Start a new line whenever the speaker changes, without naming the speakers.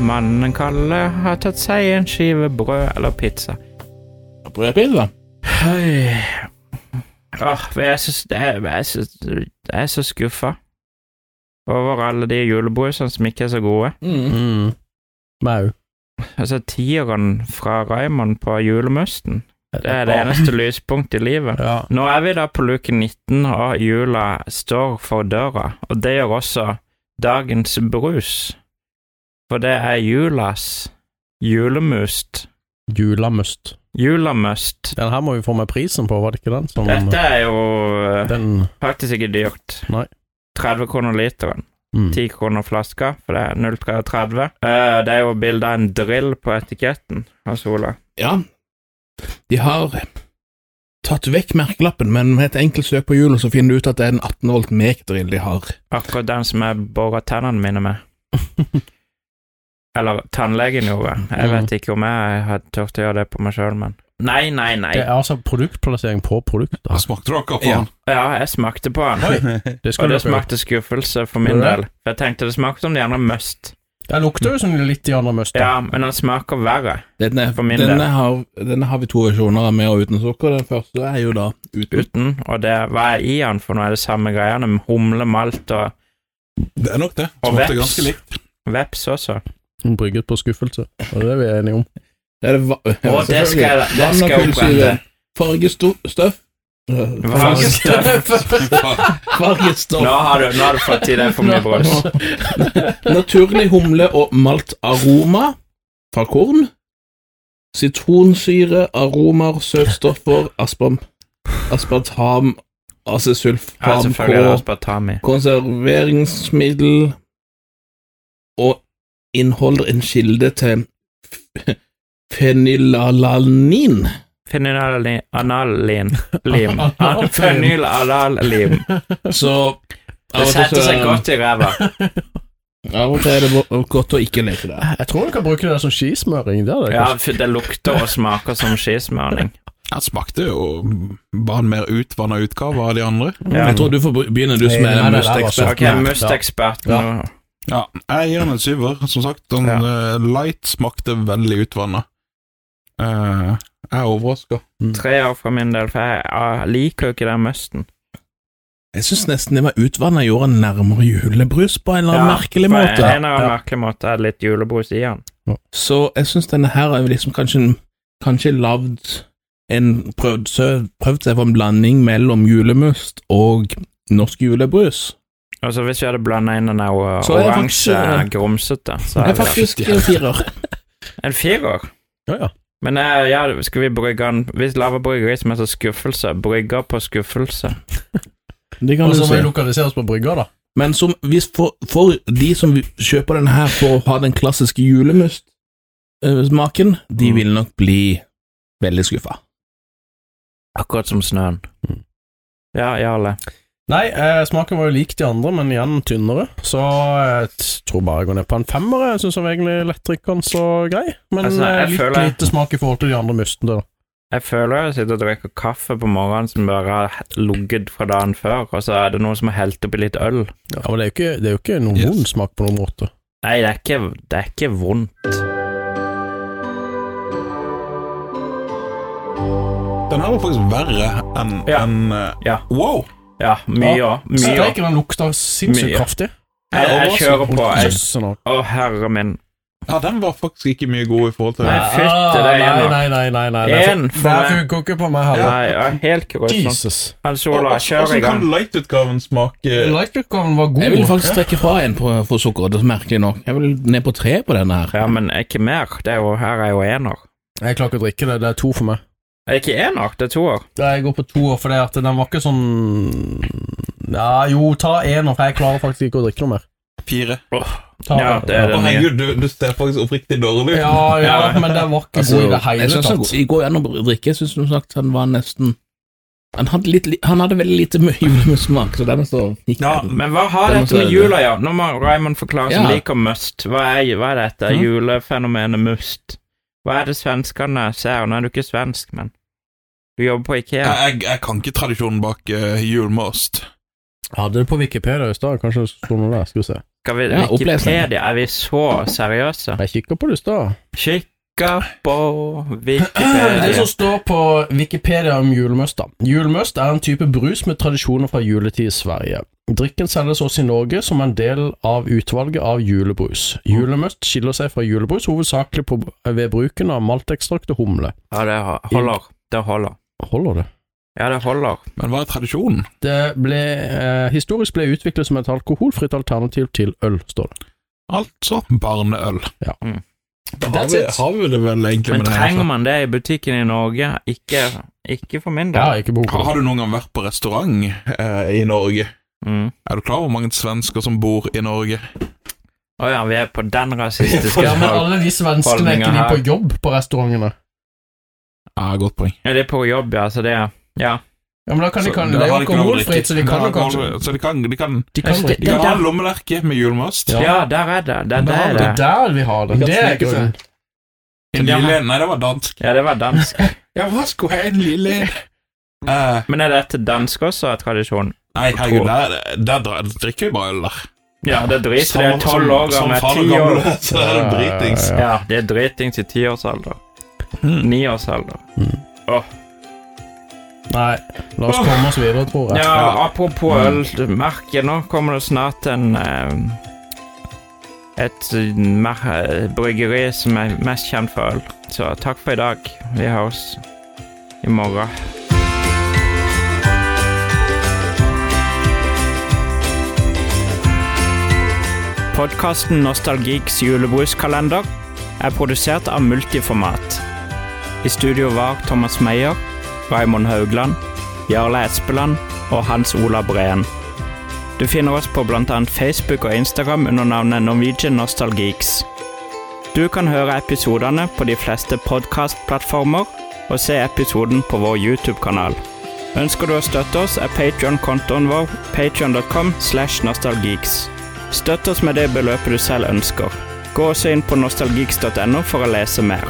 mannen Kalle har tatt seg en skive brød eller pizza.
Brødpizza?
Høy. Åh, men jeg synes det er, jeg synes, jeg er så skuffa over alle de julebrusene som ikke er så gode.
Mm.
Mm. Mau.
Altså, tieren fra Raymond på julemusten, det er det eneste lyspunktet i livet.
Ja.
Nå er vi da på luke 19, og jula står for døra, og det gjør også dagens brus. For det er julas julemust.
Julamust.
Julamust.
Den her må vi få med prisen på, var det ikke den som
Dette er jo eh,
Den
faktisk ikke dyrt.
Nei.
30 kroner literen.
mm.
10 kroner flaska, for det er 0,33. Eh, Det er jo bilde av en drill på etiketten av Sola.
Ja. De har tatt vekk merkelappen, men med et enkelt søk på hjulet så finner du ut at det er en 18 volt mekdrill de har.
Akkurat den som jeg bora tennene mine med. Eller tannlegen gjorde.
Mm.
Jeg vet ikke om jeg hadde turt å gjøre det på meg sjøl, men Nei, nei, nei.
Det er altså produktplassering på produkter.
Smakte dere på
Ja.
den?
Ja, jeg smakte på den,
Det,
og
skal
det
du prøve.
smakte skuffelse for min
Gjorde det?
del. For jeg tenkte det smakte som de andre must.
det lukter jo som litt i andre must. da.
Ja, men den smaker verre,
Denne,
For min del.
denne, har, denne har vi to versjoner av med og uten sukker. Den første er jo da uten.
uten. Og det, hva er i den for noe? Er det samme greiene med humle, malt og
Det er nok det.
Og
Smakte
veps.
ganske likt.
veps også?
Brygget på skuffelse. Og det er vi enige om.
Det er det va
Å, det skal jeg, det
Vann og
skal jeg
kullsyre.
opprette.
Fargestoff Fargestoff.
Nå har du, nå har du fått i deg for mye brus.
Naturlig humle og malt aroma fra korn. Sitronsyre, aromer, søtstoffer, asparm, aspartam,
Ja,
acesulfam,
selvfølgelig er det
K,
aspartam i.
konserveringsmiddel og inneholder en kilde til f- fenylalanin.
Fenylalanin Analin. Lim. Fenylalalim.
Så
Det setter seg godt i ræva.
Av og til er det bo- godt å ikke leke det.
Jeg tror du kan bruke det som skismøring. Det er det
Ja,
kanskje.
for det lukter og smaker som skismørning.
Den smakte jo bare en mer utvanna utgave av de andre.
Ja.
Jeg tror du får begynne, du som
Nei, nei,
er
nei,
mustekspert.
det
Ok, musteksperten. nå.
Ja, jeg gir den en syver. Som sagt, den eh, light smakte veldig utvanna. Eh, jeg er overraska.
Mm.
Tre år for min del, for jeg jeg liker jo ikke den musten.
Jeg syns nesten det var utvanna gjorde han nærmere julebrus på en eller annen
Ja,
merkelig
På
måte.
en eller annen merkelig måte er det litt julebrus i den.
Så jeg syns denne her er liksom kanskje, kanskje lagd en prøvd, sø- prøvd seg på en blanding mellom julemust og norsk julebrus.
Og så hvis vi hadde blanda inn den der o-
Så er det
oransje
faktisk- eh,
grumsete, så
Det
er
er
det
faktisk en firer.
en firer.
Ja, ja.
Men eh, ja, skal vi brygge den Hvis lager bryggeri som heter Skuffelse, brygger på skuffelse
Det kan
Og
du
så må vi
si.
lokalisere oss på brygga, da.
Men som, hvis for, for de som kjøper denne her for å ha den klassiske julemust-smaken, de
Mm.
vil nok bli veldig skuffa.
Akkurat som snøen.
Mm.
Ja, Jarle.
Nei, eh, smaken var jo lik de andre, men igjen tynnere. Så jeg t- tror bare jeg går ned på en femmere. Jeg syns egentlig lettdrikkeren så grei, men
Altså, jeg
eh, litt
føler-
lite smak i forhold til de andre mustene. da.
Jeg føler jeg sitter og drikker kaffe på morgenen som bare har ligget fra dagen før, og så er det noen som har helt oppi litt øl.
Ja, men det er jo ikke, det er jo ikke noen
Yes.
vond smak på noen måte.
Nei, det er ikke, det er ikke vondt.
Den her var faktisk verre enn
Ja.
enn, eh,
Ja.
Wow!
Ja, mye òg. Mye òg.
Steiken den lukter sinnssykt
Mye.
kraftig.
Jeg, jeg kjører på. Jeg,
Jøsse nå.
å, herre min.
Ja, den var faktisk ikke mye god i forhold til
Nei, fytte
Ah,
deg
Nei,
igjen, da.
nei, nei. nei, nei.
En
Det
for
der
meg.
funker ikke på meg heller.
Nei, jeg er helt grusom.
Jesus.
Hans Ola, kjør i gang.
kan light-utgaven smake
Lightcookeren var god.
Jeg vil faktisk trekke fra en på, for sukkeret, det er merkelig nok. Jeg vil ned på tre på denne her.
Ja, men ikke mer. Det er jo, her er jo ener.
Jeg klarer ikke å drikke det. Det er to for meg.
Er det ikke ener? Det er toer.
Det er- Jeg går på to år, fordi at den var ikke sånn Ja, jo, ta en, for jeg klarer faktisk ikke å drikke noe mer.
fire?
Ta
Ja, det er
Å,
det nye.
herregud, du, du ser faktisk oppriktig dårlig ut.
Ja, ja, men det var ikke
Altså,
god i det hele
jeg synes han,
tatt.
I går gjennom drikke, jeg syns som sagt han var nesten Han hadde, litt, li- han hadde veldig lite mye julemussmak, så den står
Ja,
Men hva har
Det
dette med
måtte-
jula å gjøre? Nå må Raymond forklare som
Ja. Mm.
liker must. Hva er, hva er dette
Mhm.
julefenomenet must? Hva er det svenskene ser? Nå er du ikke svensk, men du jobber på Ikea.
Jeg, jeg kan ikke tradisjonen bak uh, julmost.
Hadde det på Wikipedia i stad, kanskje det sto noe der. Skal vi se.
Skal vi
Ja, opplesning.
Wikipedia, er vi så seriøse?
Jeg kikker på lyst, da.
Kikka på
Det
Wikipedia
som står på Wikipedia om julemust, da. Julemust er en type brus med tradisjoner fra juletid i Sverige. Drikken selges også i Norge som en del av utvalget av julebrus. Julemust skiller seg fra julebrus hovedsakelig på, ved bruken av maltekstrakt og humle.
Ja, det holder. Det holder.
Holder det?
Ja, det holder.
Men hva er tradisjonen?
Det ble eh, historisk ble utviklet som et alkoholfritt alternativ til øl, står det.
Altså barneøl.
Ja.
Mm.
Da har
That's
vi,
it.
har vi det vel egentlig
Men
med det
trenger
her.
man det i butikken i Norge? Ikke, ikke for min
Jeg
del.
har ikke behov for det.
Har du noen gang vært på restaurant eh, i Norge?
Mm.
Er du klar over hvor mange svensker som bor i Norge?
Å ja, vi er på den rasistiske
Ja, men
ja,
alle de svenskene er ikke
Holdninger
de
her.
på jobb på restaurantene.
Ja, godt poeng.
Det er på jobb, ja, så det er Ja.
Ja, men da kan de
Så
kan,
da
Det er jo
har de ikke lov å drikke.
alkoholfritt, så de
Da
kan
har
jo kanskje
alkohol- Så de kan, de kan,
De kan
Det-
de
det-
drikke.
kan ha
der.
lommelerke med julmast.
Ja.
ja, der er det. Det, det
Da har
er
vi
Det er
det.
der vi har det.
Vi kan
Det er
snike seg.
grunnen.
En lille en? Nei, det var dansk.
Ja, det var dansk.
Ja, hva skulle jeg en lille en? Eh,
Men er dette dansk også tradisjon?
nei, herregud, der, der, der drikker vi bare øl der.
Ja, det driter de i.
Som-
Tolv år
som- som
gamle,
far
ti
gamle,
år
Så er det dritings.
Ja, ja,
Ja, det er dritings i tiårsalder.
Mm.
Niårsalder.
ja. Nei, la oss komme oss videre, tror jeg.
Ja, apropos ølmerke, nå kommer det snart en eh, Et mer, eh, bryggeri som er mest kjent for øl. Så takk for i dag. Vi høres i morgen. Podkasten Nostalgiks julebruskalender er produsert av Multiformat. I studio var Thomas Meyer, Raymond Haugland Jarle Espeland og Hans Olav Breen. Du finner oss på bl.a. Facebook og Instagram under navnet Norwegian Nostalgeeks. Du kan høre episodene på de fleste podkastplattformer og se episoden på vår YouTube-kanal. Ønsker du å støtte oss, er Patreon-kontoen vår patreon.com slash nostalgeeks. Støtt oss med det beløpet du selv ønsker. Gå også inn på nostalgeeks.no for å lese mer.